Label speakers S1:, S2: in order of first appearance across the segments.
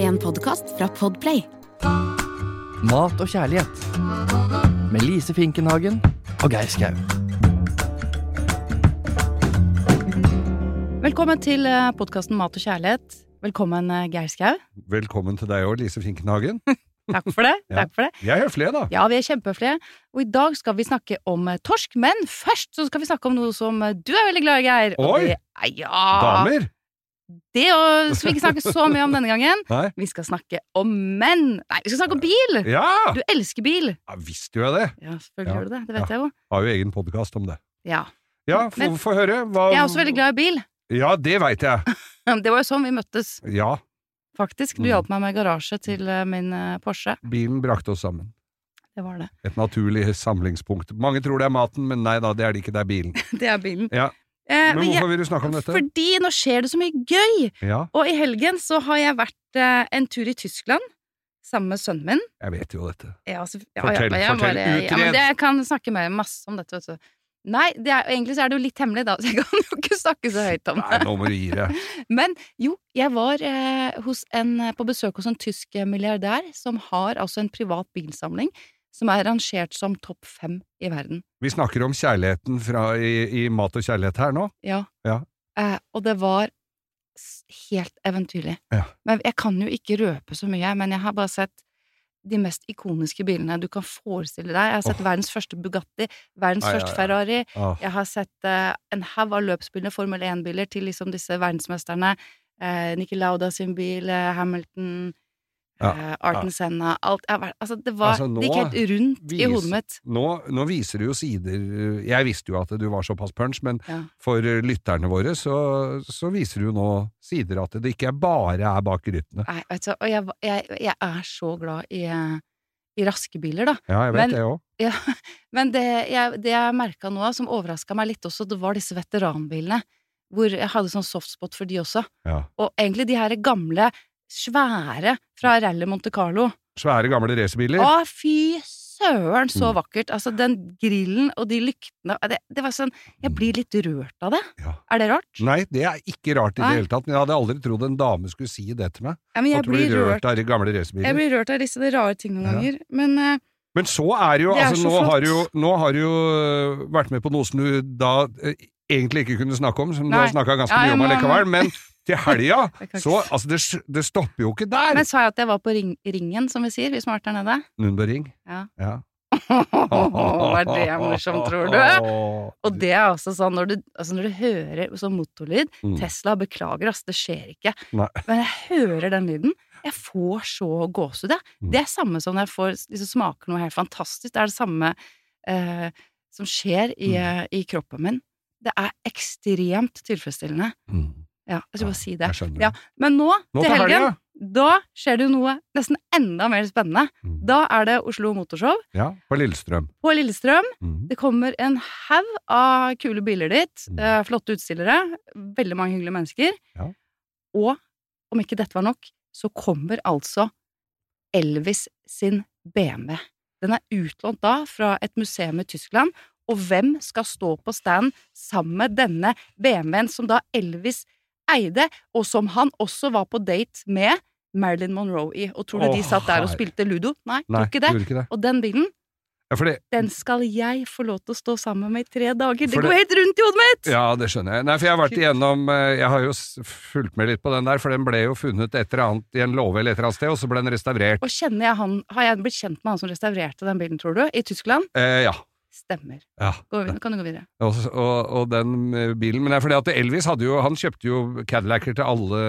S1: En podkast fra Podplay.
S2: Mat og kjærlighet med Lise Finkenhagen og Geir Skau.
S3: Velkommen til podkasten Mat og kjærlighet. Velkommen, eh, Geir Skau.
S4: Velkommen til deg òg, Lise Finkenhagen.
S3: Takk for det.
S4: Ja.
S3: Takk for det.
S4: Vi er høflige, da.
S3: Ja, vi er kjempehøflige. Og i dag skal vi snakke om eh, torsk, men først så skal vi snakke om noe som eh, du er veldig glad i, Geir. Og
S4: Oi!
S3: det er- ja,
S4: Damer!
S3: Det og- skal vi ikke snakke så mye om denne gangen.
S4: Nei.
S3: Vi skal snakke om menn. Nei, vi skal snakke om bil!
S4: Ja!
S3: Du elsker bil.
S4: ja visste jo jeg det.
S3: Ja, selvfølgelig
S4: Ja.
S3: gjør du det. Det vet jeg jo.
S4: Har jo egen podkast om det.
S3: Ja.
S4: Ja,
S3: Men-
S4: få- få høre. Hva...
S3: Jeg er også veldig glad i bil.
S4: Ja, det veit jeg.
S3: Det var jo sånn vi møttes,
S4: Ja,
S3: faktisk. Du
S4: Mm.
S3: hjalp meg med garasje til eh, min eh, Porsche.
S4: bilen brakte oss sammen.
S3: Det var det.
S4: Et naturlig samlingspunkt. Mange tror det er maten, men nei da, det er det ikke, det er bilen.
S3: Det er bilen.
S4: Ja.
S3: Eh,
S4: Men
S3: men jeg-
S4: hvorfor vil du snakke om dette?
S3: Fordi nå skjer det så mye gøy!
S4: Ja,
S3: Og i helgen så har jeg vært eh, en tur i Tyskland sammen med sønnen min.
S4: jeg vet jo dette.
S3: Ja, altså, ja,
S4: Fortell,
S3: ja, jeg
S4: fortell,
S3: Ja, men
S4: utred.
S3: det, jeg kan snakke med masse om dette, vet du. Nei, det er, egentlig så er det jo litt hemmelig, da, så jeg kan jo ikke snakke så høyt om
S4: Nei,
S3: det.
S4: nå må du gi deg.
S3: Men jo, jeg var eh, hos en, på besøk hos en tysk eh, milliardær som har altså en privat bilsamling som er rangert som topp fem i verden.
S4: Vi snakker om kjærligheten fra, i, i Mat og kjærlighet her nå.
S3: Ja.
S4: Ja.
S3: Eh, og det var s- helt eventyrlig.
S4: Ja.
S3: Men jeg kan jo ikke røpe så mye, men jeg har bare sett de mest ikoniske bilene du kan forestille deg. Jeg har sett
S4: Åh.
S3: verdens første Bugatti, verdens
S4: Ai, ai,
S3: første
S4: ai.
S3: Ferrari.
S4: Ah,
S3: Jeg har sett eh, en haug av løpsbilene, Formel 1-biler, til liksom disse verdensmesterne. Eh, Niki Lauda sin bil, eh, Hamilton,
S4: Ja,
S3: eh, Arten
S4: ja.
S3: Senna Alt. Jeg har vært- altså, det, var,
S4: Altså, nå
S3: det gikk helt rundt i
S4: viser-
S3: hodet mitt.
S4: nå, nå viser du jo sider Jeg visste jo at du var såpass punch, men
S3: Ja.
S4: for eh, lytterne våre så, så viser du jo nå sider at det ikke er bare er bak ryttene.
S3: Nei, vet du, og jeg, var- jeg, jeg er så glad i, eh, i raske biler, da.
S4: Ja, jeg vet
S3: Men-
S4: det òg.
S3: Ja, men det jeg, det jeg merka nå, som overraska meg litt også, det var disse veteranbilene. Hvor jeg hadde sånn softspot for de også.
S4: Ja.
S3: Og egentlig de her gamle, svære fra Rally Monte Carlo.
S4: Svære, gamle racerbiler.
S3: Å, fy søren, så
S4: Mm.
S3: vakkert! Altså, den grillen og de lyktene det, det var sånn Jeg blir litt rørt av det.
S4: Ja.
S3: Er det rart?
S4: Nei, det er ikke rart i det
S3: Nei.
S4: hele tatt, men jeg hadde aldri trodd en dame skulle si det til meg.
S3: Ja, men
S4: At du blir rørt, av gamle
S3: Jeg
S4: racerbiler.
S3: blir rørt av disse rare tingene
S4: Ja.
S3: noen ganger. Men eh,
S4: Men så er jo
S3: Det er
S4: altså,
S3: så
S4: nå,
S3: flott.
S4: har du jo, nå har du jo øh, vært med på noe som du da eh, egentlig ikke kunne snakke om, som du
S3: Nei.
S4: har snakka ganske
S3: Ja,
S4: mye
S3: jeg
S4: om
S3: må-
S4: allikevel, men til helga
S3: jeg kan ikke-
S4: så Altså, det, s- det stopper jo ikke der!
S3: men sa jeg at jeg var på ring, Ringen, som vi sier, vi som har vært der nede?
S4: Nundering.
S3: Ja.
S4: ja.
S3: Hva er det morsomt, tror du? Og det er også sånn, når du, altså når du hører sånn motorlyd
S4: Mm.
S3: Tesla, beklager, ass, det skjer ikke.
S4: Nei.
S3: Men jeg hører den lyden. Jeg får så gåsehud, jeg.
S4: Mm.
S3: Det er samme som når jeg får, liksom, smaker noe helt fantastisk. Det er det samme eh, som skjer i, eh,
S4: Mm.
S3: i kroppen min. Det er ekstremt tilfredsstillende.
S4: Mm.
S3: Ja, jeg
S4: Ja,
S3: skal bare si det.
S4: Jeg skjønner
S3: Ja, Men nå,
S4: Nå
S3: til
S4: til
S3: helgen,
S4: helga!
S3: da skjer det jo noe nesten enda mer spennende.
S4: Mm.
S3: Da er det Oslo Motorshow
S4: Ja, på Lillestrøm.
S3: på Lillestrøm.
S4: Mm.
S3: Det kommer en haug av kule biler dit,
S4: Mm.
S3: eh, flotte utstillere, veldig mange hyggelige mennesker.
S4: Ja.
S3: Og om ikke dette var nok, så kommer altså Elvis sin BMW. Den er utlånt da fra et museum i Tyskland, og hvem skal stå på stand sammen med denne BMW-en som da Elvis eide, og som han også var på date med Marilyn Monroe i? Og tror du de
S4: Å,
S3: satt der og
S4: herre.
S3: spilte ludo? Nei,
S4: Nei,
S3: tror ikke det.
S4: gjorde ikke det.
S3: Og den bilen
S4: Ja, for det,
S3: den skal jeg få lov til å stå sammen med i tre dager. Det
S4: For
S3: går helt rundt i hodet mitt!
S4: ja, det skjønner jeg. Nei, for jeg har vært igjennom eh, Jeg har jo s- fulgt med litt på den der, for den ble jo funnet et eller annet i en låve eller et eller annet sted, og så ble den restaurert.
S3: Og kjenner jeg han, Har jeg blitt kjent med han som restaurerte den bilen, tror du? I Tyskland?
S4: Eh, ja.
S3: Stemmer.
S4: ja.
S3: Gå, nå kan du gå videre.
S4: Og, og, og den eh, bilen Men det er fordi at Elvis hadde jo Han kjøpte jo Cadillacer til alle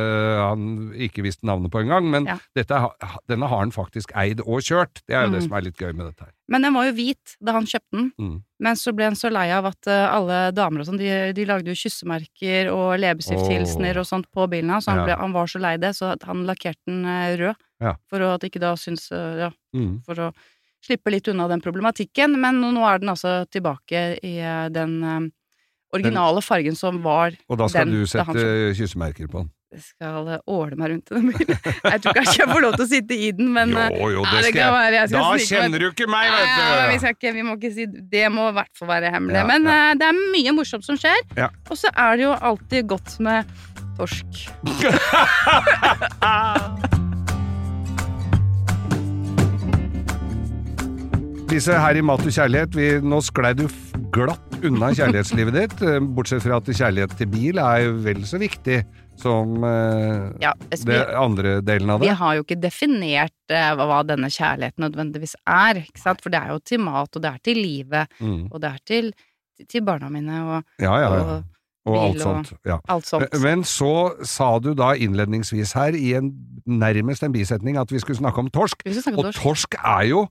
S4: han ikke visste navnet på engang, men
S3: Ja.
S4: dette, ha- denne har han faktisk eid og kjørt. Det er jo det
S3: Mm.
S4: som er litt gøy med dette her.
S3: Men den var jo hvit da han kjøpte den.
S4: Mm.
S3: Men så ble han så lei av at eh, alle damer og sånn, de, de lagde jo kyssemerker og leppestifthilsener
S4: Åh.
S3: og sånt på bilen hans, så han,
S4: Ja.
S3: ble, han var så lei det, så at han lakkerte den eh, rød.
S4: Ja.
S3: For å, at ikke da syns eh, Ja,
S4: Mm.
S3: for å slippe litt unna den problematikken, men nå er den altså tilbake i eh, den eh, originale fargen som var
S4: Og da skal
S3: Den-
S4: du
S3: det er han
S4: sette kyssemerker på den?
S3: Jeg skal eh, åle meg rundt i den bilen. Jeg tror kanskje jeg får lov til å sitte i den, men eh,
S4: jo,
S3: nei, det kan være jeg skal
S4: Da
S3: snike meg-
S4: kjenner du ikke meg,
S3: Nei,
S4: vet du!
S3: ja, men vi, skal ikke, vi må ikke si Det må i hvert fall være hemmelig.
S4: Ja,
S3: men
S4: ja.
S3: eh, det er mye morsomt som skjer.
S4: Ja.
S3: Og så er det jo alltid godt med torsk.
S4: Elise, her i Mat og kjærlighet, vi, nå sklei du f- glatt unna kjærlighetslivet ditt, eh, bortsett fra at kjærlighet til bil er jo vel så viktig som eh,
S3: Ja, jeg
S4: det
S3: spør-
S4: andre delen av
S3: vi
S4: det.
S3: har jo ikke definert eh, hva hva denne kjærligheten nødvendigvis er, ikke sant? For det er jo til mat, og det er til livet,
S4: Mm.
S3: og det er til, til barna mine, og,
S4: Ja, ja, ja.
S3: og
S4: Og
S3: bil
S4: alt
S3: og-
S4: sånt. Ja. Eh,
S3: alt sånt.
S4: Men så sa du da innledningsvis her, i en, nærmest en bisetning, at vi skulle snakke om torsk.
S3: Hvis vi snakker om
S4: Og
S3: torsk.
S4: torsk er jo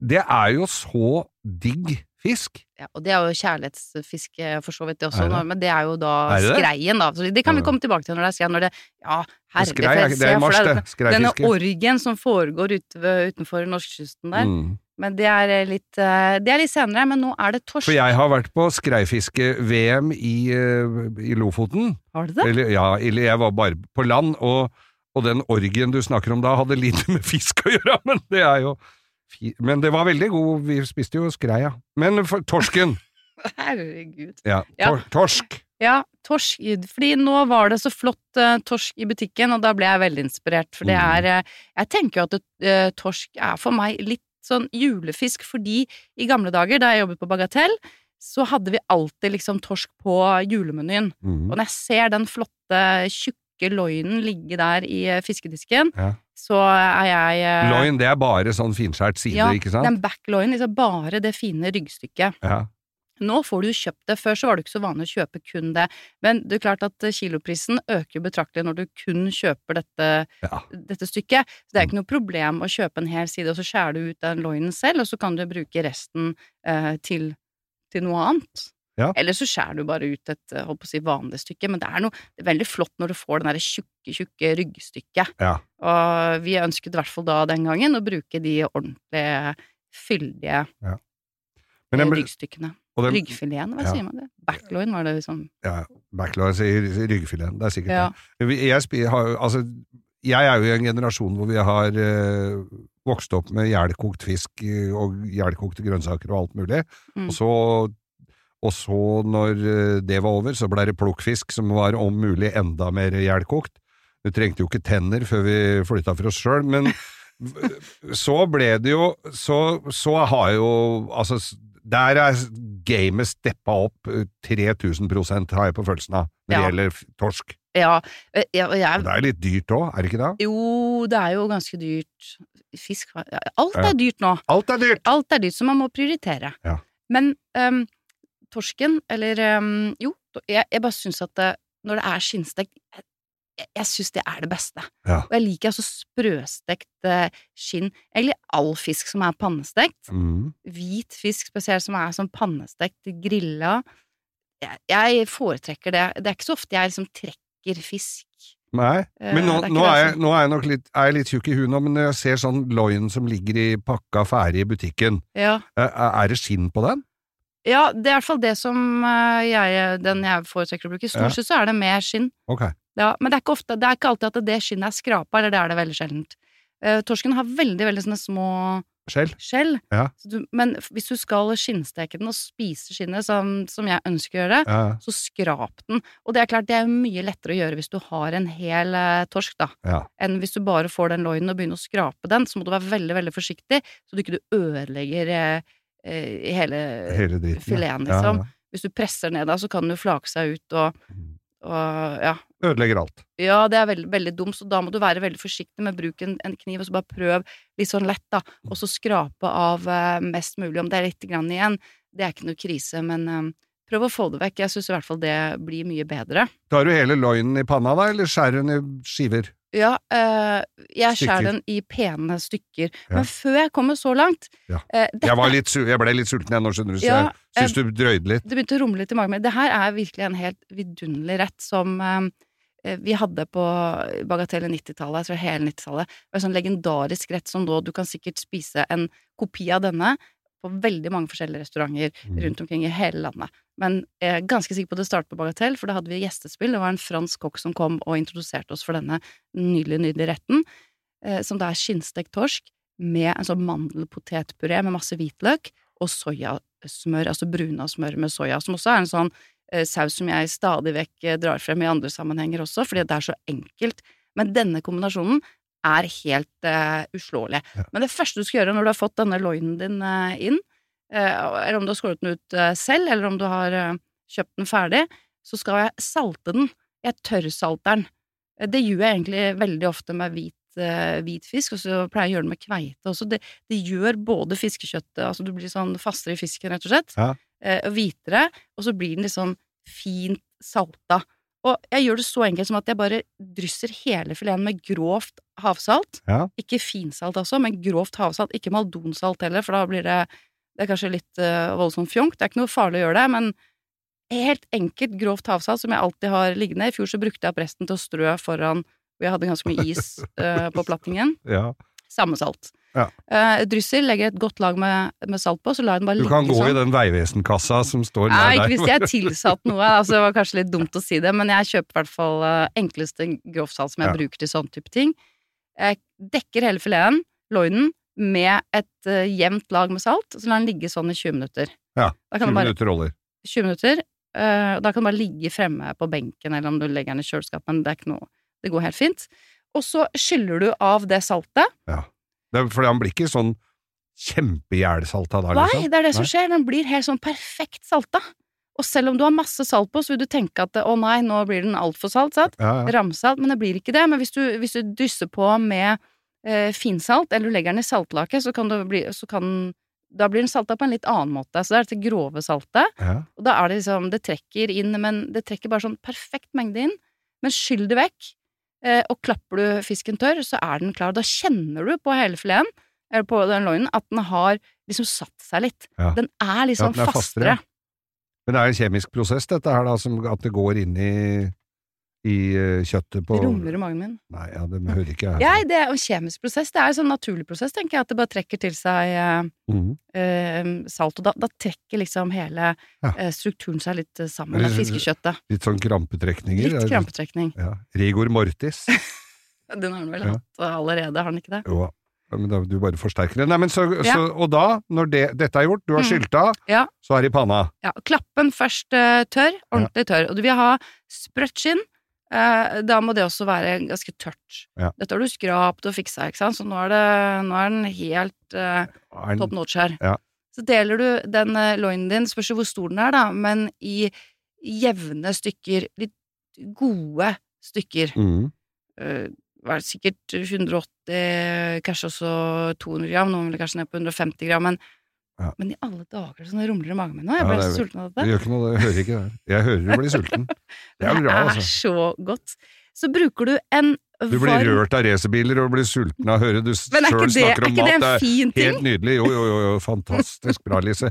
S4: Det er jo så digg fisk.
S3: Ja, og det er jo kjærlighetsfiske for så vidt det også,
S4: Er det?
S3: nå, men det er jo da
S4: Er det det?
S3: skreien, da. Så det kan vi
S4: Ja.
S3: komme tilbake til når det er skreien. Når det, ja,
S4: Og
S3: herlig,
S4: Skrei, er- det er i mars, det.
S3: Denne
S4: Skreifiske.
S3: orgen som foregår ute ved, utenfor norskekysten der.
S4: Mm.
S3: Men det er eh, litt, eh, det er litt senere, men nå er det torsk.
S4: For jeg har vært på skreifiske-VM i, eh, i Lofoten.
S3: Har du det?
S4: Eller, ja, eller jeg var bare på land, og, og den orgien du snakker om da, hadde lite med fisk å gjøre, men det er jo fi- Men det var veldig god, vi spiste jo skreia. Men for, torsken!
S3: Herregud.
S4: Ja,
S3: Ja.
S4: tor, torsk!
S3: Ja, torsk. Fordi nå var det så flott eh, torsk i butikken, og da ble jeg veldig inspirert. For det
S4: Mm.
S3: er eh, Jeg tenker jo at eh, torsk er for meg litt sånn julefisk, fordi i gamle dager, da jeg jobbet på Bagatell, så hadde vi alltid liksom torsk på julemenyen.
S4: Mm.
S3: Og når jeg ser den flotte, tjukke loinen ligge der i eh, fiskedisken,
S4: Ja.
S3: så er jeg eh,
S4: Loin, det er bare sånn finskjært side,
S3: Ja,
S4: ikke sant?
S3: Den backloinen, liksom bare det fine ryggstykket.
S4: Ja.
S3: Nå får du jo kjøpt det, før så var det ikke så vanlig å kjøpe kun det, men det er klart at eh, kiloprisen øker jo betraktelig når du kun kjøper dette,
S4: Ja.
S3: dette stykket, så det er ikke noe problem å kjøpe en hel side, og så skjærer du ut den loinen selv, og så kan du bruke resten eh, til, til noe annet.
S4: Ja.
S3: Eller så skjærer du bare ut et eh, holdt på å si, vanlig stykke, men det er noe det er veldig flott når du får den derre tjukke, tjukke ryggstykket.
S4: Ja.
S3: Og vi ønsket i hvert fall da den gangen å bruke de ordentlige, fyldige eh,
S4: Men den,
S3: ryggstykkene.
S4: og den,
S3: Ryggfileten, hva
S4: Ja.
S3: sier man det? Backloin, var det liksom
S4: ja, Backloin sier ryggfilet, det er sikkert
S3: Ja.
S4: det. Vi- Jeg, spi- har, altså, jeg er jo i en generasjon hvor vi har eh, vokst opp med jævlkokt fisk eh, og jævlkokte grønnsaker og alt mulig,
S3: Mm.
S4: og så og så, når eh, det var over, så blei det plukkfisk som var om mulig enda mer jævlkokt. Du trengte jo ikke tenner før vi flytta for oss sjøl, men så ble det jo Så, så har jo Altså, s- der er s- gamet steppa opp eh, 3000 prosent, har jeg på følelsen av, når det
S3: Ja.
S4: gjelder f- torsk.
S3: Ja, eh, ja, og
S4: Og
S3: jeg
S4: det er litt dyrt òg, er det ikke det?
S3: Jo, det er jo ganske dyrt. Fisk var- ja, Alt
S4: Ja.
S3: er dyrt nå.
S4: Alt er dyrt!
S3: Alt er dyrt, så man må prioritere.
S4: Ja.
S3: Men ehm, torsken, eller ehm, Jo, jeg, jeg bare syns at det, når det er skinnstekt jeg- jeg, jeg syns det er det beste.
S4: Ja.
S3: Og jeg liker altså sprøstekt eh, skinn. Egentlig all fisk som er pannestekt.
S4: Mm.
S3: hvit fisk spesielt som er sånn pannestekt, grilla. Jeg, jeg foretrekker det. Det er ikke så ofte jeg liksom trekker fisk.
S4: Nei.
S3: Eh,
S4: Men nå,
S3: det er ikke
S4: nå,
S3: det
S4: er jeg,
S3: som-
S4: nå er jeg nok litt, er jeg litt tjukk i huet nå, men når jeg ser sånn loin som ligger i pakka ferdig i butikken,
S3: Ja.
S4: eh, er det skinn på den?
S3: ja, det er i hvert fall det som eh, jeg, den jeg foretrekker å bruke.
S4: Ja.
S3: Stort sett så er det med skinn.
S4: Ok.
S3: Ja, men det er, ikke ofte, det er ikke alltid at det skinnet er skrapa, eller det er det veldig sjeldent. Eh, torsken har veldig, veldig sånne små
S4: Skjell?
S3: skjell.
S4: Ja.
S3: Så du, men hvis du skal skinnsteke den og spise skinnet, som, som jeg ønsker å gjøre,
S4: Ja.
S3: så skrap den. Og det er klart, det er mye lettere å gjøre hvis du har en hel eh, torsk, da,
S4: Ja.
S3: enn hvis du bare får den loinen og begynner å skrape den. Så må du være veldig, veldig forsiktig, så du ikke du ødelegger eh, eh, hele
S4: Hele dritten. ja.
S3: fileten,
S4: Ja,
S3: liksom. Hvis du presser ned da, så kan den jo flake seg ut og, og ja.
S4: ja. Ødelegger alt.
S3: ja, det er veldig, veldig dumt, så da må du være veldig forsiktig med å bruke en, en kniv, og så bare prøv litt sånn lett, da, og så skrape av eh, mest mulig, om det er litt grann igjen. Det er ikke noe krise, men eh, prøv å få det vekk. Jeg syns i hvert fall det blir mye bedre.
S4: Tar du hele loinen i panna da, eller skjærer den i skiver?
S3: Ja, eh, jeg
S4: Stykker.
S3: skjærer den i pene stykker. Men før jeg kommer så langt
S4: Ja.
S3: eh, dette-
S4: Jeg, var litt, su- jeg ble litt sulten jeg nå, skjønner du, så
S3: Ja, eh,
S4: jeg syns du drøyde litt.
S3: Det begynte å rumle litt i magen min. Det her er virkelig en helt vidunderlig rett som eh, vi hadde på Bagatelle 90-tallet, jeg tror hele 90-tallet. Det var en sånn legendarisk rett som nå, du kan sikkert spise en kopi av denne på veldig mange forskjellige restauranter
S4: Mm.
S3: rundt omkring i hele landet. Men jeg er ganske sikker på at det startet på Bagatell, for da hadde vi gjestespill. Det var en fransk kokk som kom og introduserte oss for denne nydelige, nydelige retten, eh, som da er skinnstekt torsk med en sånn mandelpotetpuré med masse hvitløk og soyasmør, altså bruna smør med soya, som også er en sånn eh, saus som jeg stadig vekk eh, drar frem i andre sammenhenger også, fordi det er så enkelt. Men denne kombinasjonen er helt eh, uslåelig.
S4: Ja.
S3: Men det første du skal gjøre når du har fått denne loinen din eh, inn, eh, eller om du har skåret den ut eh, selv, eller om du har eh, kjøpt den ferdig, så skal jeg salte den. Jeg tørrsalter den. Eh, Det gjør jeg egentlig veldig ofte med hvit, eh, hvit fisk, og så pleier jeg å gjøre det med kveite også. Det, det gjør både fiskekjøttet Altså du blir sånn fastere i fisken, rett og slett,
S4: Ja.
S3: eh, og hvitere, og så blir den litt sånn fint salta. Og jeg gjør det så enkelt som at jeg bare drysser hele fileten med grovt havsalt.
S4: Ja.
S3: Ikke finsalt altså, men grovt havsalt. Ikke maldonsalt heller, for da blir det Det er kanskje litt eh, voldsomt fjongt. Det er ikke noe farlig å gjøre det, men helt enkelt grovt havsalt som jeg alltid har liggende. I fjor så brukte jeg opp resten til å strø foran hvor jeg hadde ganske mye is eh, på plattingen.
S4: Ja.
S3: Samme salt.
S4: Ja.
S3: Eh, drysser, legger et godt lag med, med salt på, så lar jeg den bare
S4: Du
S3: ligge
S4: kan gå i
S3: sånn.
S4: den veivesenkassa som står
S3: Nei, ikke
S4: nær
S3: hvis
S4: der.
S3: jeg tilsatte noe, altså det var kanskje litt dumt å si det, men jeg kjøper i hvert fall eh, enkleste grovsalt som jeg
S4: Ja.
S3: bruker til sånne type ting. Jeg dekker hele fileten, loinen, med et eh, jevnt lag med salt, og så lar den ligge sånn i 20 minutter.
S4: Ja,
S3: Da kan
S4: 20
S3: den bare
S4: minutter roller.
S3: 20 minutter. eh, og da kan du bare ligge fremme på benken, eller om du legger den i kjøleskapet, men det er ikke noe Det går helt fint. Og så skyller du av det saltet.
S4: Det er, fordi han blir ikke sånn kjempehjelsalta da,
S3: Nei,
S4: liksom.
S3: det er det som
S4: Nei.
S3: skjer. Den blir helt sånn perfekt salta. Og selv om du har masse salt på, så vil du tenke at å nei, nå blir den altfor salt, sant?
S4: Ja, ja.
S3: Ramsalt, men det blir ikke det. Men hvis du, hvis du drysser på med eh, finsalt, eller du legger den i saltlake, så kan du bli så kan, Da blir den salta på en litt annen måte. Så det er dette grove saltet.
S4: Ja.
S3: Og da er det liksom Det trekker inn, men det trekker bare sånn perfekt mengde inn. Men skyll det vekk, eh, og klapper du fisken tørr, så er den klar. Da kjenner du på hele fileten, eller på den loinen, at den har liksom satt seg litt.
S4: Ja.
S3: Den er
S4: Ja,
S3: liksom
S4: den er
S3: fastere.
S4: fastere. Men det er en kjemisk prosess, dette her, da, som at det går inn i, i eh, kjøttet på
S3: Det rumler i magen min.
S4: Nei, ja, det hører ikke jeg.
S3: Jeg, det er jo en kjemisk prosess. Det er en sånn naturlig prosess, tenker jeg, at det bare trekker til seg eh,
S4: Mhm.
S3: eh, salt. Og da, da trekker liksom hele
S4: Ja.
S3: eh, strukturen seg litt eh, sammen.
S4: Eller-
S3: Det er fiskekjøttet.
S4: Litt sånn krampetrekninger.
S3: Litt
S4: er det-
S3: krampetrekning.
S4: Ja. Rigor mortis.
S3: Den har den vel
S4: Ja.
S3: hatt allerede, har den ikke det?
S4: Jo, ja, men da, du bare forsterker det. Nei, men så,
S3: Ja.
S4: så, og da, når det, dette er gjort, du har
S3: Mm.
S4: skylt av,
S3: Ja.
S4: så er det i panna.
S3: Ja, klappen først eh, tørr, ordentlig tørr. Og du vil ha sprøtt skinn. eh, da må det også være ganske tørt.
S4: Ja.
S3: Dette har du skrapt og fiksa, ikke sant, så nå er, det, nå er den helt eh,
S4: Er den-
S3: top notch her.
S4: Ja.
S3: Så deler du den eh, loinen din, spørs jo hvor stor den er, da, men i jevne stykker, litt gode stykker.
S4: Mhm.
S3: Eh, hva er det, sikkert 180, kanskje også 200 gram, noen vil kanskje ned på 150 gram, men,
S4: Ja.
S3: men i alle dager sånn det rumler i magen min nå, jeg
S4: Ja,
S3: ble
S4: det er
S3: så
S4: vel-
S3: sulten av dette.
S4: Det gjør ikke noe, det hører ikke det. Jeg hører du blir sulten. Det er bra,
S3: Det er
S4: altså.
S3: så godt. Så bruker du en varm
S4: Du blir rørt av racerbiler og blir sulten av å høre du
S3: Men er
S4: sjøl
S3: ikke det, er
S4: snakker om
S3: ikke det
S4: mat.
S3: en
S4: Det er
S3: fin ting?
S4: helt nydelig. Jo, jo, jo, jo. fantastisk bra, Lise.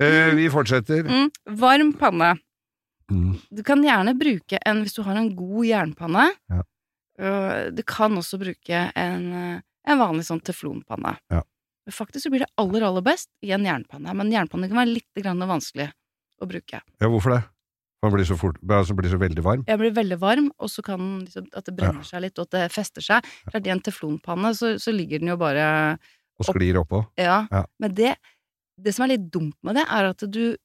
S4: Eh, vi fortsetter.
S3: Mm, varm panne.
S4: Mm.
S3: Du kan gjerne bruke en hvis du har en god jernpanne.
S4: Ja.
S3: øh, Du kan også bruke en, øh, en vanlig sånn teflonpanne.
S4: Ja.
S3: Men Faktisk så blir det aller, aller best i en jernpanne, men jernpanne kan være litt grann vanskelig å bruke.
S4: Ja, hvorfor det? Man blir så, fort, altså blir så veldig varm.
S3: Jeg blir veldig varm, og så kan den liksom, at det brenner seg litt, og at det fester seg. Klart, I en teflonpanne så, så ligger den jo bare
S4: og sklir oppå.
S3: Ja,
S4: Ja.
S3: men det, det som er litt dumt med det, er at du,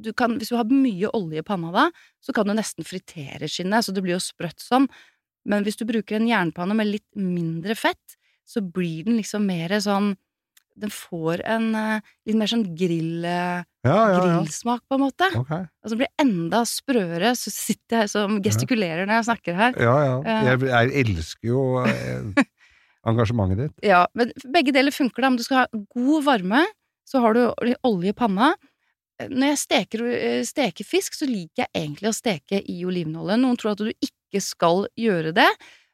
S3: du kan, hvis du har mye olje i panna da, så kan du nesten fritere skinnet, så det blir jo sprøtt sånn. Men hvis du bruker en jernpanne med litt mindre fett, så blir den liksom mer sånn Den får en eh, litt mer sånn grill, eh,
S4: Ja, ja, ja.
S3: grillsmak, på en måte.
S4: Ok.
S3: Altså den blir enda sprøere, så sitter jeg som gestikulerer når jeg snakker her.
S4: Ja, ja.
S3: Ja.
S4: Jeg, jeg elsker jo eh, engasjementet ditt.
S3: Ja, men begge deler funker da, men du skal ha god varme, så har du litt olje i panna. Når jeg steker, eh, steker fisk, så liker jeg egentlig å steke i olivenolje. Noen tror at du ikke skal gjøre det,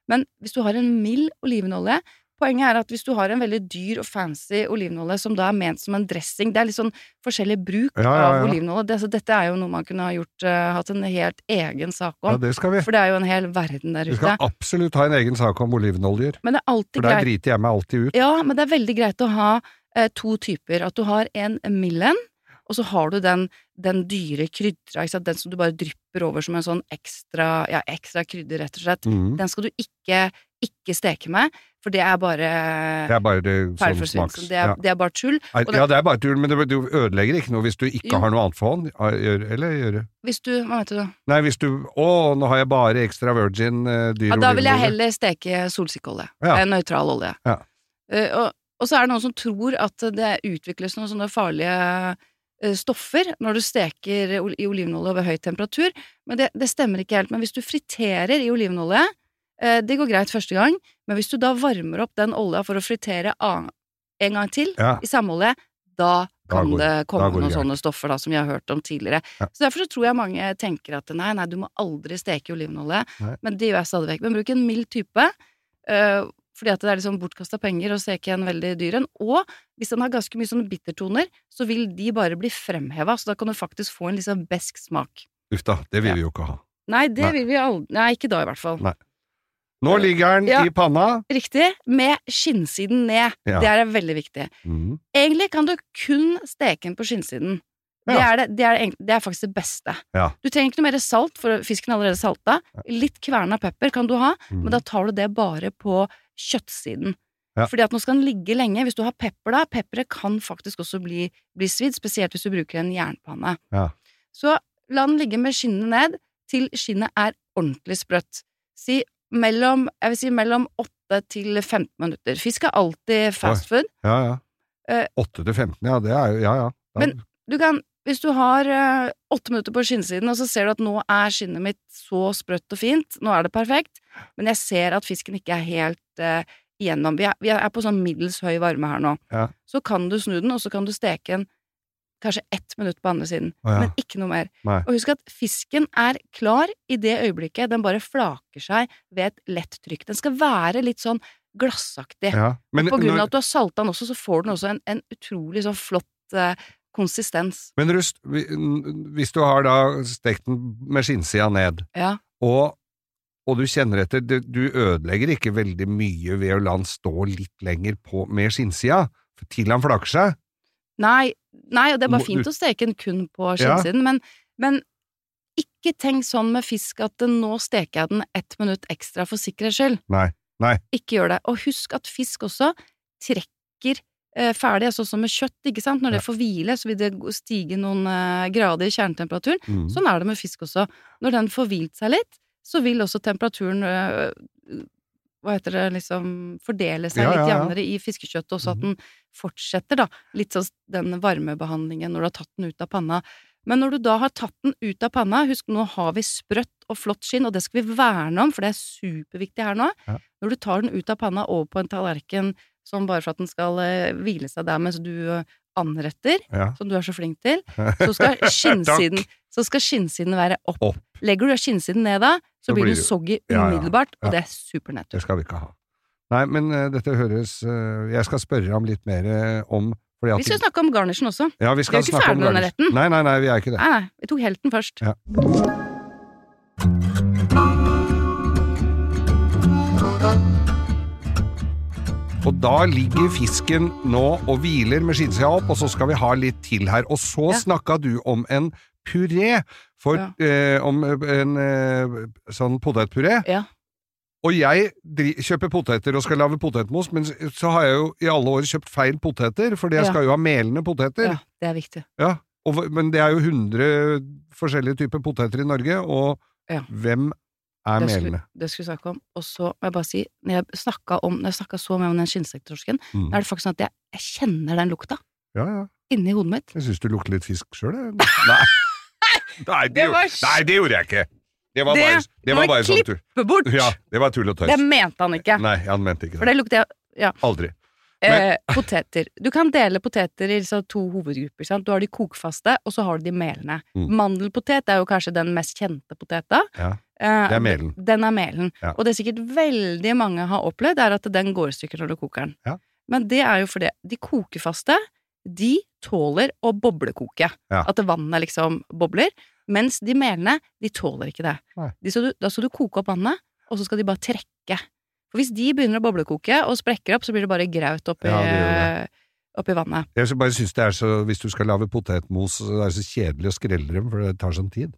S3: men hvis du har en mild olivenolje Poenget er at hvis du har en veldig dyr og fancy olivenolje som da er ment som en dressing Det er litt sånn forskjellig bruk
S4: Ja, ja,
S3: av
S4: ja.
S3: olivenolje. Det, så dette er jo noe man kunne ha gjort, eh, hatt en helt egen sak
S4: Ja,
S3: om.
S4: det skal vi.
S3: For det er jo en hel verden der
S4: Vi
S3: ute.
S4: skal absolutt ha en egen sak om olivenoljer,
S3: Men det er alltid
S4: for der
S3: greit
S4: driter jeg meg alltid ut.
S3: Ja, men det er veldig greit å ha eh, to typer. At du har en millen, og så har du den, den dyre krydra, ikke sant? den som du bare drypper over som en sånn ekstra, ja, ekstra krydder, rett og slett.
S4: Mhm.
S3: Den skal du ikke, ikke steke med, For det er bare
S4: Det er bare sånn smaks.
S3: feilforsvinning. Det, er-
S4: ja.
S3: det er bare tull.
S4: Er-
S3: og det-
S4: ja, det er bare tull, men det, du ødelegger ikke noe hvis du ikke
S3: Jo.
S4: har noe annet for hånd. Ja, gjør- Eller gjøre
S3: Hvis du Hva mente du?
S4: Nei, hvis du Å, nå har jeg bare ekstra virgin eh, dyr
S3: Ja, da vil jeg
S4: olivenolje.
S3: heller steke solsikkeolje.
S4: Ja.
S3: En nøytral olje.
S4: Ja.
S3: Eh, og, og så er det noen som tror at det utvikles noen sånne farlige eh, stoffer når du steker ol- i olivenolje over høy temperatur, men det, det stemmer ikke helt. Men hvis du friterer i olivenolje, eh, det går greit første gang, men hvis du da varmer opp den olja for å fritere an- en gang til
S4: Ja.
S3: i samme olje, da
S4: Da
S3: kan
S4: går-
S3: det komme
S4: går det
S3: noen
S4: gærent.
S3: sånne stoffer da, som vi har hørt om tidligere.
S4: Ja.
S3: Så derfor så tror jeg mange tenker at nei, nei, du må aldri steke i olivenolje.
S4: Nei.
S3: Men det gjør jeg stadig vekk. Men bruk en mild type, øh, fordi at det er liksom bortkasta penger å steke en veldig dyr en. Og hvis den har ganske mye sånne bittertoner, så vil de bare bli fremheva, så da kan du faktisk få en liksom besk smak.
S4: Uff da, det vil
S3: Ja.
S4: vi jo ikke ha.
S3: Nei, det
S4: Nei.
S3: vil vi aldri Nei, ikke da, i hvert fall.
S4: Nei. Nå ligger den
S3: Eh, Ja.
S4: i panna.
S3: Riktig. Med skinnsiden ned.
S4: Ja.
S3: Det er veldig viktig.
S4: Mm.
S3: Egentlig kan du kun steke den på skinnsiden. Det,
S4: Ja.
S3: er det, det, er egentlig, det er faktisk det beste.
S4: Ja.
S3: Du trenger ikke noe mer salt, for fisken er allerede salta. Litt kverna pepper kan du ha,
S4: mm.
S3: men da tar du det bare på kjøttsiden.
S4: Ja.
S3: Fordi at nå skal den ligge lenge. Hvis du har pepper da, pepperet kan faktisk også bli, bli svidd, spesielt hvis du bruker en jernpanne.
S4: Ja.
S3: Så la den ligge med skinnet ned til skinnet er ordentlig sprøtt. Si mellom, jeg vil si mellom 8 til 15 minutter. Fisk er alltid fast food.
S4: Ja, ja.
S3: Eh.
S4: 8 til 15, ja, det er jo Ja, ja. Da-
S3: Men- Du kan, hvis du har eh, åtte minutter på skinnsiden, og så ser du at nå er skinnet mitt så sprøtt og fint, nå er det perfekt, men jeg ser at fisken ikke er helt eh, igjennom. Vi er, vi er på sånn middels høy varme her nå.
S4: Ja.
S3: Så kan du snu den, og så kan du steke den kanskje ett minutt på andre siden,
S4: Å, ja.
S3: men ikke noe mer.
S4: Nei.
S3: Og husk at fisken er klar i det øyeblikket den bare flaker seg ved et lett trykk. Den skal være litt sånn glassaktig.
S4: ja. Men,
S3: På grunn
S4: når-
S3: av at du har salta den også, så får den også en, en utrolig sånn flott eh, konsistens.
S4: men Rust, vi- n- hvis du har da stekt den med skinnsida ned,
S3: Ja.
S4: og, og du kjenner etter du, du ødelegger ikke veldig mye ved å la den stå litt lenger på med skinnsida, til han flaker seg.
S3: Nei, nei, og det er
S4: Må-
S3: bare fint å steke den kun på skinnsiden, men, men ikke tenk sånn med fisk at eh, nå steker jeg den ett minutt ekstra for sikkerhets skyld.
S4: Nei, nei.
S3: Ikke gjør det. Og husk at fisk også trekker eh, ferdig, altså som med kjøtt, ikke sant. Når det får hvile, så vil det gå- stige noen eh, grader i kjernetemperaturen.
S4: Mm.
S3: Sånn er det med fisk også. Når den får hvilt seg litt, så vil også temperaturen øh, øh, hva heter det, liksom fordele seg
S4: Ja,
S3: litt
S4: ja, Mm-hmm. ja.
S3: jevnere i fiskekjøttet, også at den fortsetter, da. Litt sånn den varmebehandlingen når du har tatt den ut av panna. Men når du da har tatt den ut av panna, husk nå har vi sprøtt og flott skinn, og det skal vi verne om, for det er superviktig her nå.
S4: Ja.
S3: Når du tar den ut av panna over på en tallerken sånn bare for at den skal eh, hvile seg der mens du eh, anretter,
S4: Ja.
S3: som du er så flink til, så skal skinnsiden, så skal skinnsiden være opp.
S4: Opp.
S3: Legger du skinnsiden ned da, så,
S4: Så
S3: blir
S4: blir
S3: den
S4: det-
S3: soggy
S4: Ja, ja,
S3: umiddelbart,
S4: ja.
S3: og det er supernetto.
S4: Det skal vi ikke ha. Nei, men eh, dette høres eh, Jeg skal spørre ham litt mer eh, om fordi at
S3: Vi skal snakke om garnishen også.
S4: ja, vi, skal
S3: vi er jo ikke
S4: snakke om
S3: ferdig med denne
S4: garnish.
S3: retten.
S4: Nei, nei, nei, vi er ikke det.
S3: Nei, nei, vi tok helten først.
S4: Ja. Og da ligger fisken nå og hviler med skinnsida opp, og så skal vi ha litt til her. Og så
S3: Ja.
S4: snakka du om en puré, for,
S3: Ja.
S4: eh, om en eh, sånn potetpuré.
S3: Ja.
S4: Og jeg dri kjøper poteter og skal lage potetmos, men s- så har jeg jo i alle år kjøpt feil poteter, fordi jeg
S3: Ja.
S4: skal jo ha melende poteter.
S3: Ja, det er viktig.
S4: Ja, og, hva- men det er jo 100 forskjellige typer poteter i Norge, og
S3: Ja.
S4: hvem er
S3: Det skulle,
S4: melene?
S3: det skulle vi snakke om. Og så må jeg bare si, når jeg snakka om, når jeg snakket så mye om den skinnsektorsken,
S4: Mm.
S3: da er det faktisk sånn at jeg, jeg kjenner den lukta
S4: Ja, ja.
S3: inni hodet mitt.
S4: Jeg syns du lukter litt fisk sjøl, jeg. Nei. Nei, det
S3: Det var
S4: gjorde- nei, det gjorde jeg ikke. Det var
S3: Det
S4: bare, det var
S3: må
S4: bare sånn
S3: klippe
S4: tull.
S3: Bort!
S4: Ja, det var tull og
S3: Det
S4: tøys.
S3: mente han ikke.
S4: Nei, han mente ikke
S3: For det
S4: det.
S3: lukter jeg
S4: Aldri.
S3: eh, poteter. Du kan dele poteter i liksom to hovedgrupper. Sant? Du har de kokfaste, og så har du de melende.
S4: Mm.
S3: Mandelpotet er jo kanskje den mest kjente poteta.
S4: Ja,
S3: Eh,
S4: det er melen.
S3: Den er melen.
S4: Ja.
S3: Og det sikkert veldig mange har opplevd, er at den går i stykker når du koker den.
S4: Ja.
S3: Men det er jo fordi de kokefaste, de tåler å boblekoke.
S4: Ja.
S3: At vannet liksom bobler. Mens de melene, de tåler ikke det.
S4: Nei.
S3: De skal du, da skal du koke opp vannet, og så skal de bare trekke. For hvis de begynner å boblekoke og sprekker opp, så blir det bare graut oppi,
S4: Ja, det gjør
S3: oppi vannet.
S4: Jeg bare synes det er så, Hvis du skal lage potetmos, så er det så kjedelig å skrelle dem, for det tar sånn tid.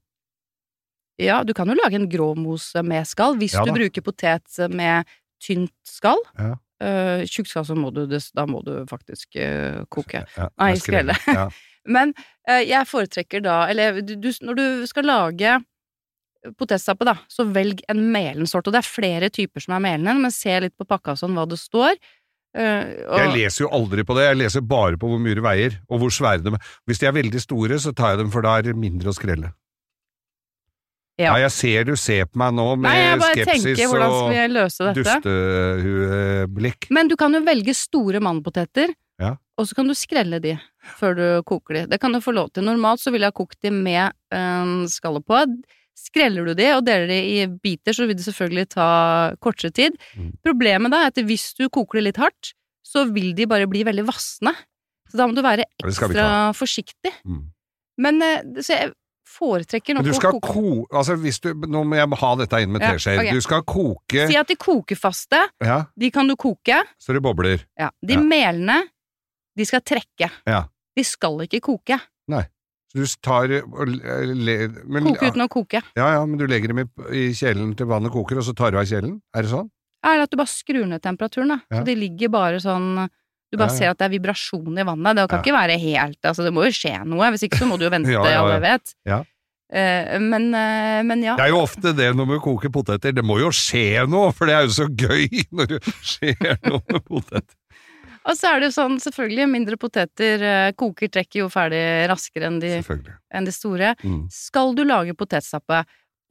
S3: Ja, du kan jo lage en gråmos med skall hvis
S4: Ja
S3: du
S4: da.
S3: bruker potet med tynt skall.
S4: Ja.
S3: eh, tjukkskadd, så må du, des- da må du faktisk eh, koke.
S4: Ja,
S3: Nei,
S4: jeg skrev det. Ja.
S3: Men eh, jeg foretrekker da, eller du, du, når du skal lage potetstappe, da, så velg en melen sort. Og det er flere typer som er melende, men se litt på pakka og sånn hva det står. Eh, og,
S4: Jeg leser jo aldri på det, jeg leser bare på hvor mye det veier, og hvor svære de er. Hvis de er veldig store, så tar jeg dem, for da er det mindre å skrelle.
S3: Ja.
S4: Nei, jeg ser du ser på meg nå med
S3: Nei, jeg bare
S4: skepsis
S3: tenker hvordan skal
S4: og
S3: jeg løse dette?
S4: dustehueblikk.
S3: Men du kan jo velge store mandelpoteter,
S4: Ja.
S3: og så kan du skrelle de før du koker de. Det kan du få lov til. Normalt så ville jeg ha kokt de med um, skallet på. Skreller du de og deler de i biter, så vil det selvfølgelig ta kortere tid.
S4: Mm.
S3: Problemet da er at hvis du koker det litt hardt, så vil de bare bli veldig vassende. Så da må du være
S4: Det skal vi
S3: ekstra forsiktig.
S4: Mm.
S3: Men eh, så jeg foretrekker
S4: Men
S3: nok
S4: du
S3: å
S4: skal
S3: koke
S4: ko... Altså, hvis du Nå må jeg ha dette inn med
S3: Ja,
S4: teskjeer.
S3: ok.
S4: Du skal koke
S3: Si at de kokefaste,
S4: Ja,
S3: de kan du koke.
S4: så det bobler.
S3: Ja. De
S4: Ja.
S3: melene, de skal trekke.
S4: Ja.
S3: De skal ikke koke.
S4: Så du tar og le... men,
S3: Koke uten å koke.
S4: Ja, ja, men du legger dem i, i kjelen til vannet koker, og så tar du av kjelen? Er det sånn?
S3: Er at du bare skrur ned temperaturen, da.
S4: Ja.
S3: Så de ligger bare sånn Du bare
S4: Ja, ja.
S3: ser at det er vibrasjon i vannet. Det kan
S4: Ja.
S3: ikke være helt Altså, det må jo skje noe. Hvis ikke så må du jo vente,
S4: Ja, ja, ja.
S3: alle vet.
S4: Ja.
S3: Eh, men, eh, men ja.
S4: Det er jo ofte det når man koker poteter. Det må jo skje noe, for det er jo så gøy når det skjer noe med poteter.
S3: Og så er det jo sånn, selvfølgelig, mindre poteter eh, koker trekker jo ferdig raskere enn de,
S4: Selvfølgelig.
S3: enn de store.
S4: Mm.
S3: Skal du lage potetstappe,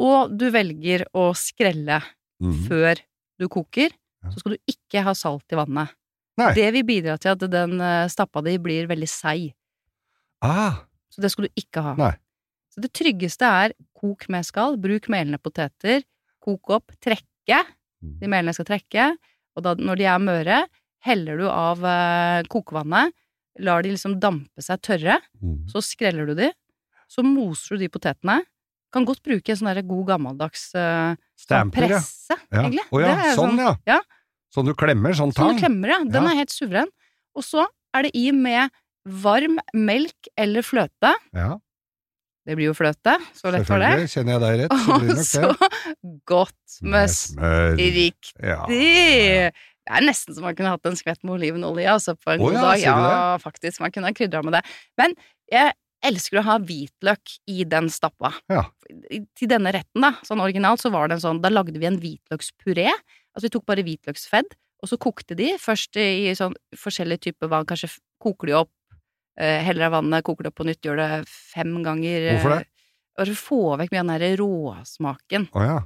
S3: og du velger å skrelle
S4: Mm.
S3: før du koker,
S4: Ja.
S3: så skal du ikke ha salt i vannet.
S4: Nei.
S3: Det vil bidra til at den eh, stappa di blir veldig seig.
S4: Ah,
S3: Så det skal du ikke ha.
S4: Nei.
S3: Så det tryggeste er kok med skall, bruk melende poteter, kok opp, trekke.
S4: Mm.
S3: De melene skal trekke, og da, når de er møre, heller du av eh, kokevannet, lar de liksom dampe seg tørre,
S4: mm.
S3: så skreller du de, så moser du de potetene. Kan godt bruke en sånn der god gammeldags eh, sånn
S4: Stamper, ja.
S3: presse,
S4: ja.
S3: egentlig.
S4: Å ja,
S3: Det er jo
S4: sånn, ja.
S3: ja.
S4: Sånn du klemmer, sånn
S3: Sånn
S4: tang.
S3: du klemmer, ja. Den
S4: Ja.
S3: er helt suveren. Og så er det i med varm melk eller fløte.
S4: Ja,
S3: Det blir jo fløte, så lett var det.
S4: selvfølgelig. Kjenner jeg deg rett, så blir
S3: Og
S4: det
S3: så
S4: nok det.
S3: godt med
S4: smør.
S3: riktig.
S4: Ja.
S3: Det er nesten så man kunne hatt en skvett med olivenolje altså på en
S4: Å
S3: god
S4: ja,
S3: dag.
S4: sier du
S3: Ja, faktisk. Man kunne ha krydra med det. Men jeg elsker å ha hvitløk i den stappa.
S4: Ja.
S3: I- Til denne retten, da, sånn originalt, så var det en sånn Da lagde vi en hvitløkspuré. Altså vi tok bare hvitløksfedd, og så kokte de først i sånn forskjellige typer vann. Kanskje f- koker de opp, eh, heller av vannet, koker det opp på nytt, gjør det fem ganger. eh,
S4: Hvorfor det?
S3: Bare få vekk mye av den der råsmaken.
S4: Å ja.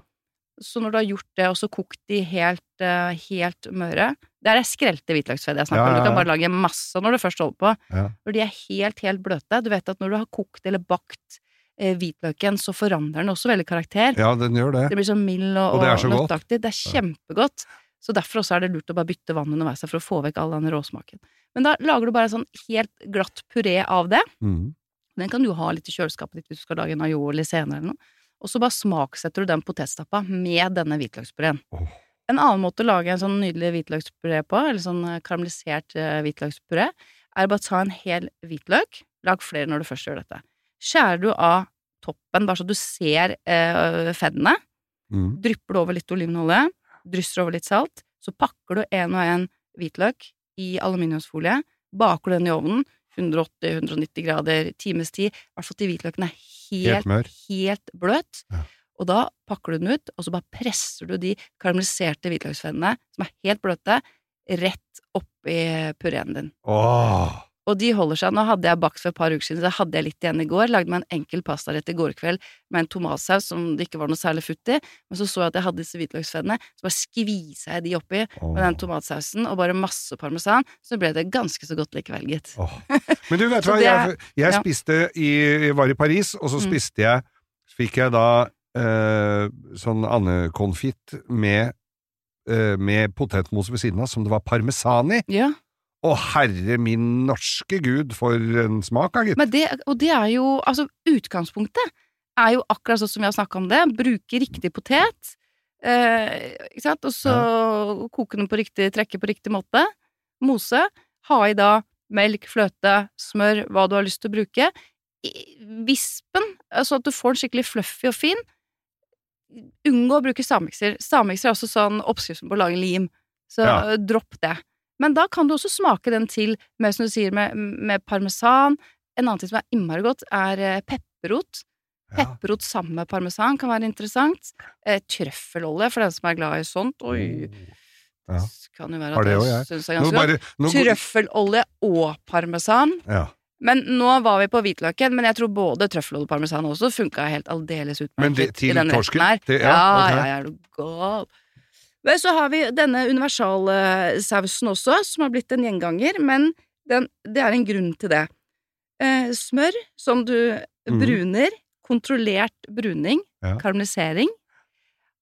S3: Så når du har gjort det, og så kokt de helt, eh, helt møre Det er det skrelte hvitløksfett jeg snakker om.
S4: Ja, ja,
S3: Du kan
S4: ja.
S3: bare lage masse når du først holder på.
S4: Ja.
S3: Når de er helt, helt bløte. Du vet at når du har kokt eller bakt eh, hvitløken, så forandrer den også veldig karakter.
S4: ja, den gjør det.
S3: Det blir så mild og,
S4: Og
S3: og,
S4: det er så godt.
S3: nøtteaktig. Det er kjempegodt. Så derfor også er det lurt å bare bytte vann underveis her for å få vekk all den råsmaken. Men da lager du bare en sånn helt glatt puré av det.
S4: Mm.
S3: Den kan du ha litt i kjøleskapet ditt hvis du skal lage en aioli senere eller noe. Og så bare smaksetter du den potetstappa med denne hvitløkspureen.
S4: Åh.
S3: En annen måte å lage en sånn nydelig hvitløkspuré på, eller sånn eh, karamellisert eh, hvitløkspuré, er bare å ta en hel hvitløk. Lag flere når du først gjør dette. Skjærer du av toppen, bare så du ser eh, feddene.
S4: Mm.
S3: Drypper du over litt olivenolje. Drysser over litt salt. Så pakker du en og en hvitløk i aluminiumsfolie. Baker du den i ovnen. 180-190 grader, times tid. I hvert fall til hvitløken er helt,
S4: Helt mør.
S3: helt bløt.
S4: Ja.
S3: Og da pakker du den ut, og så bare presser du de karamelliserte hvitløksfennene, som er helt bløte, rett oppi pureen din.
S4: Åh.
S3: Og de holder seg. Nå hadde jeg bakt for et par uker siden, så hadde jeg litt igjen i går. Lagde meg en enkel pastarett i går kveld med en tomatsaus som det ikke var noe særlig futt i. Men så så jeg at jeg hadde disse hvitløksfennene, så bare skvisa jeg de oppi
S4: Åh.
S3: med den tomatsausen og bare masse parmesan. Så ble det ganske så godt likevel, gitt.
S4: Åh. Men du vet
S3: Så
S4: hva,
S3: det er-
S4: jeg, jeg
S3: ja.
S4: spiste i, jeg var i Paris, og så
S3: Mm.
S4: spiste jeg Så fikk jeg da eh, sånn andekonfitt med, eh, med potetmos ved siden av, som det var parmesan i.
S3: Ja,
S4: Å herre min norske gud, for en smak, da, gitt.
S3: men det, Og det er jo Altså, utgangspunktet er jo akkurat sånn som vi har snakka om det. Bruke riktig potet, eh, ikke sant, og så koke den på riktig, trekke på riktig måte. Mose. Ha i da melk, fløte, smør, hva du har lyst til å bruke. I- Vispen, sånn at du får den skikkelig fluffy og fin. Unngå å bruke stavmikser. Stavmikser er også sånn oppskriften på å lage lim. Så
S4: Ja.
S3: øh, dropp det. Men da kan du også smake den til med, som du sier, med, med parmesan. En annen ting som er innmari godt, er eh, pepperrot.
S4: Ja.
S3: Pepperrot sammen med parmesan kan være interessant. Eh, trøffelolje, for den som er glad i sånt. Oi!
S4: Oh, Ja.
S3: Kan jo være
S4: Har
S3: at
S4: det
S3: det
S4: også, jeg.
S3: syns jeg er
S4: Nå
S3: ganske godt.
S4: bare, nå,
S3: Trøffelolje og parmesan.
S4: ja.
S3: Men nå var vi på hvitløken, men jeg tror både trøffelolje og parmesan også funka helt aldeles
S4: Men det-
S3: utmerket
S4: til
S3: i den
S4: torsken?
S3: retten her.
S4: Til-
S3: ja,
S4: ja,
S3: ja,
S4: ok.
S3: ja, er du gal. Men så har vi denne universalsausen også, som har blitt en gjenganger, men den, det er en grunn til det. Eh, smør som du
S4: Mhm.
S3: bruner, kontrollert bruning,
S4: Ja.
S3: karamellisering.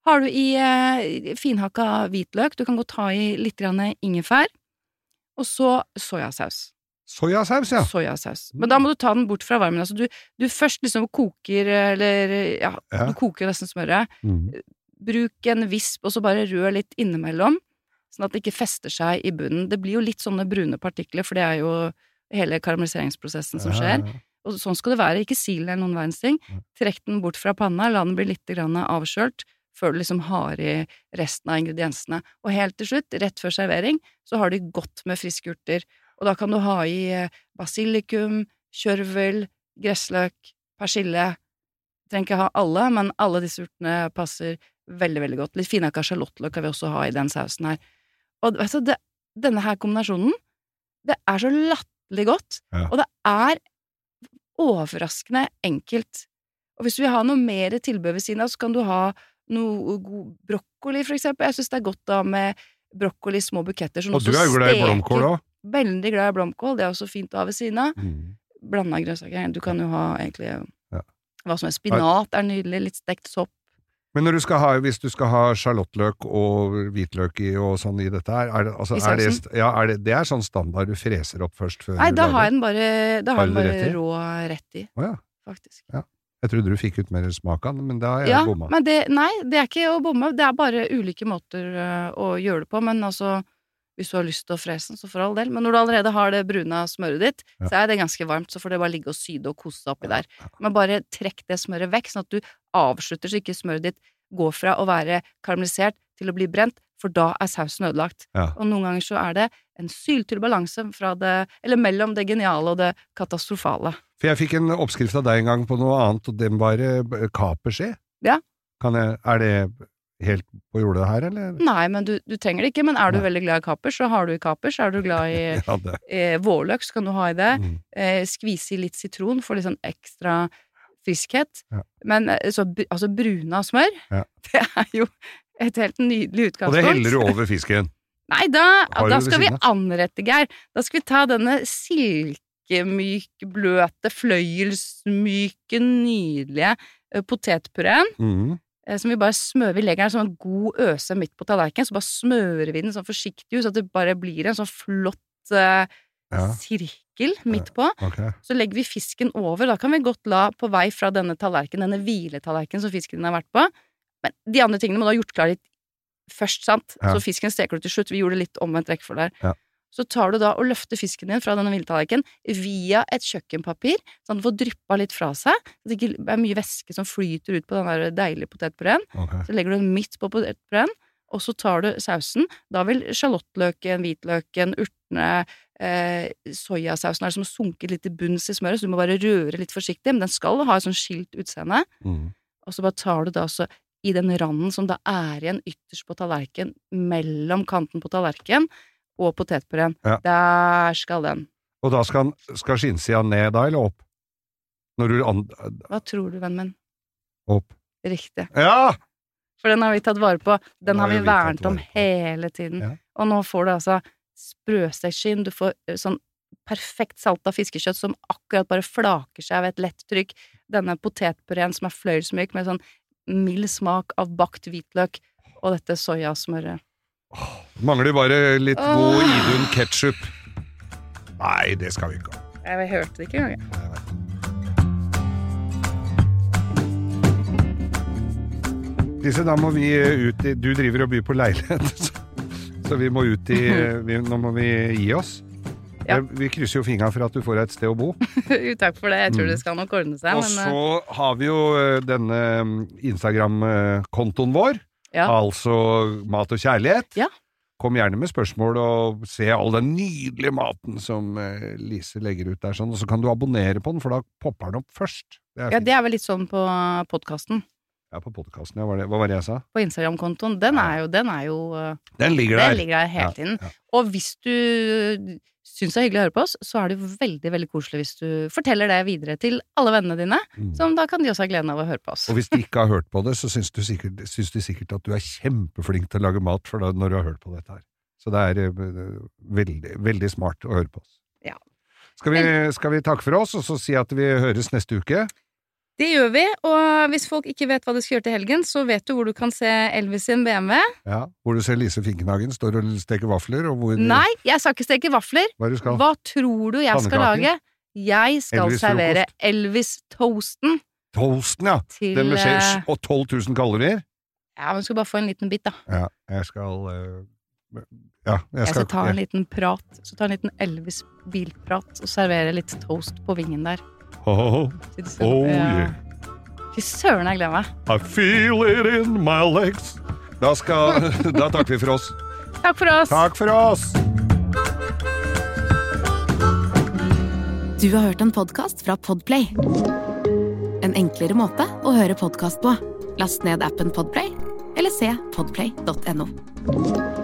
S3: Har du i eh, finhakka hvitløk, du kan godt ta i litt grann ingefær. Og så soyasaus
S4: Soyasaus, ja.
S3: soyasaus. Men da må du ta den bort fra varmen. Altså du, du først liksom koker eller ja,
S4: Ja.
S3: du koker nesten smøret.
S4: Mm.
S3: Bruk en visp, og så bare rør litt innimellom, sånn at det ikke fester seg i bunnen. Det blir jo litt sånne brune partikler, for det er jo hele karamelliseringsprosessen som skjer.
S4: Ja, Mm. ja.
S3: Og sånn skal det være, ikke sil eller noen verdens ting.
S4: Nei.
S3: Trekk den bort fra panna, la den bli litt grann avkjølt, før du liksom har i resten av ingrediensene. Og helt til slutt, rett før servering, så har de godt med friske urter. Og da kan du ha i eh, basilikum, kjørvel, gressløk, persille. Du trenger ikke ha alle, men alle disse urtene passer veldig, veldig godt. Litt finhakka sjalottløk kan vi også ha i den sausen her. Og vet du, det, denne her kombinasjonen, det er så latterlig godt,
S4: Ja.
S3: og det er overraskende enkelt. Og hvis du vil ha noe mer tilbehør ved siden av, så kan du ha noe god brokkoli, for eksempel. Jeg syns det er godt da med brokkoli i små buketter som
S4: Og du
S3: også
S4: er jo glad i
S3: Mm, steker-
S4: blomkål òg.
S3: Veldig glad i blomkål, det er også fint å ha ved siden av.
S4: Mm.
S3: Blanda grønnsaker. Du kan jo ha egentlig
S4: Ja.
S3: hva som er spinat, er nydelig. Litt stekt sopp.
S4: Men når du skal ha, hvis du skal ha sjalottløk og hvitløk i og sånn i dette her, er det, altså,
S3: I
S4: er det,
S3: sausen?
S4: st- ja, er det, det er sånn standard du freser opp først før
S3: Nei,
S4: du
S3: da har
S4: lager?
S3: jeg den bare, da
S4: Har
S3: har jeg den
S4: du
S3: bare
S4: det rett i?
S3: rå rett i,
S4: Å ja.
S3: faktisk.
S4: Jeg trodde du fikk ut mer smak av den, men da har jeg
S3: Ja,
S4: bomma.
S3: men det, nei, det er ikke å bomme, det er bare ulike måter øh, å gjøre det på, men altså, hvis du har lyst til å frese den, så for all del. Men når du allerede har det bruna smøret ditt,
S4: Ja.
S3: så er det ganske varmt, så får det bare ligge og syde og kose seg oppi der. Men bare trekk det smøret vekk, sånn at du avslutter så ikke smøret ditt går fra å være karamellisert til å bli brent, for da er sausen ødelagt.
S4: Ja.
S3: Og noen ganger så er det en syltynn balanse fra det, eller mellom det geniale og det katastrofale.
S4: For jeg fikk en oppskrift av deg en gang på noe annet, og den var eh, b- kaperskje.
S3: Ja.
S4: Kan jeg, er det helt på jordet her, eller?
S3: Nei, men du, du trenger det ikke. Men er du
S4: Nei.
S3: veldig glad i kapers, så har du i kapers. Er du glad i
S4: Ja, det.
S3: eh, vårløk, så kan du ha i det.
S4: Mm.
S3: Eh, skvise i litt sitron for litt sånn ekstra friskhet.
S4: Ja.
S3: Men eh, så, br- altså bruna smør,
S4: Ja.
S3: det er jo et helt nydelig
S4: Og
S3: utgangspunkt.
S4: det heller du over fisken.
S3: Nei, da,
S4: Har du
S3: da
S4: det ved
S3: skal vi
S4: siden
S3: anrette, Geir. Da skal vi ta denne silkemyke, bløte, fløyelsmyke, nydelige eh, potetpureen
S4: Mm.
S3: eh, som vi bare smører, vi legger den som en sånn god øse midt på tallerkenen, så bare smører vi den sånn forsiktig ut, så at det bare blir en sånn flott eh,
S4: Ja,
S3: sirkel midt på.
S4: ok.
S3: Så legger vi fisken over, da kan vi godt la på vei fra denne tallerkenen, denne hviletallerkenen som fisken har vært på, men de andre tingene må du ha gjort klar litt først, sant?
S4: Ja.
S3: Så fisken steker du til slutt, vi gjorde litt omvendt rekkefølge der.
S4: Ja.
S3: Så tar du da og løfter fisken din fra denne hviletallerkenen via et kjøkkenpapir, sånn at den får dryppa litt fra seg, så det ikke er mye væske som flyter ut på den der deilige potetpureen.
S4: ok.
S3: Så legger du den midt på potetbrøden, og så tar du sausen. Da vil sjalottløken, hvitløken, urtene, eh, soyasausen er som sunket litt til bunns i smøret, så du må bare røre litt forsiktig, men den skal ha et sånn skilt utseende.
S4: Mm.
S3: Og så bare tar du da også i den randen som da er igjen ytterst på tallerkenen, mellom kanten på tallerkenen og potetpureen.
S4: Ja.
S3: Der skal den.
S4: Og da skal, han- skal skinnsida ned da, eller opp? Når du and... eh,
S3: Hva tror du, vennen min?
S4: Opp.
S3: Riktig.
S4: Ja!
S3: For den har vi tatt vare på.
S4: Den
S3: Den har
S4: har
S3: vi
S4: vi tatt
S3: vernet om
S4: vare på.
S3: hele tiden.
S4: Ja.
S3: Og nå får du altså sprøstekt skinn, du får eh, sånn perfekt salta fiskekjøtt som akkurat bare flaker seg ved et lett trykk. Denne potetpureen som er fløyelsmyk med sånn mild smak av bakt hvitløk. Og dette soyasmøret.
S4: Mangler bare litt
S3: Åh.
S4: god Idun ketsjup. Nei, det skal vi ikke ha.
S3: Jeg hørte det ikke engang. jeg.
S4: Nei, nei. Lise, da må vi eh, ut i Du driver og byr på leilighet, så, så vi må ut i eh, vi, Nå må vi gi oss.
S3: Ja.
S4: Eh, Vi krysser jo fingra for at du får et sted å bo.
S3: Jo, Takk for det. Jeg tror det skal nok ordne seg.
S4: Mm. Og
S3: Men, eh,
S4: så har vi jo eh, denne mm, Instagram-kontoen vår,
S3: Ja.
S4: altså Mat og kjærlighet.
S3: Ja.
S4: Kom gjerne med spørsmål og se all den nydelige maten som eh, Lise legger ut der, sånn, og så kan du abonnere på den, for da popper den opp først. Det er
S3: Ja,
S4: fint.
S3: det er vel litt sånn på podkasten.
S4: Ja, på podkasten, ja. Hva var det- hva var det jeg sa?
S3: På Instagram-kontoen. Den er jo, den er jo eh,
S4: Den ligger der!
S3: Den ligger der hele
S4: Ja,
S3: tiden.
S4: ja.
S3: Og hvis du syns det er hyggelig å høre på oss, så er det jo veldig veldig koselig hvis du forteller det videre til alle vennene dine,
S4: Mm.
S3: som da kan de også ha gleden av å høre på oss.
S4: Og hvis de ikke har hørt på det, så syns, du sikkert, syns de sikkert at du er kjempeflink til å lage mat for da, når du har hørt på dette her. Så det er eh, veldig, veldig smart å høre på oss.
S3: Ja.
S4: Skal vi, skal vi takke for oss, og så si at vi høres neste uke?
S3: Det gjør vi, og hvis folk ikke vet hva de skal gjøre til helgen, så vet du hvor du kan se Elvis sin BMW.
S4: Ja. Hvor du ser Lise Finkenhagen står og steker vafler, og hvor
S3: Nei, jeg skal ikke steke vafler.
S4: hva du Mm. skal.
S3: Hva tror du jeg skal
S4: Pannekaker?
S3: lage? Jeg skal
S4: Elvis-frokost.
S3: servere Elvis-toasten
S4: Toasten, ja!
S3: til
S4: Den med skje,
S3: eh,
S4: og 12 000 kalorier?
S3: Ja, men du skal bare få en liten bit, da.
S4: Ja, jeg skal eh, Ja, jeg
S3: Jeg
S4: skal
S3: skal ta en liten prat. Så ta en liten Elvis-bilprat og servere litt toast på vingen der.
S4: Ho, ho, ho.
S3: Til eh, det skal-
S4: Oh
S3: Ja.
S4: yeah,
S3: Fy søren, jeg gleder meg.
S4: I feel it in my legs. Da, skal, da takker vi for oss.
S3: Takk for oss!
S4: Takk for oss!
S1: Du har hørt en podkast fra Podplay. En enklere måte å høre podkast på. Last ned appen Podplay, eller se podplay.no.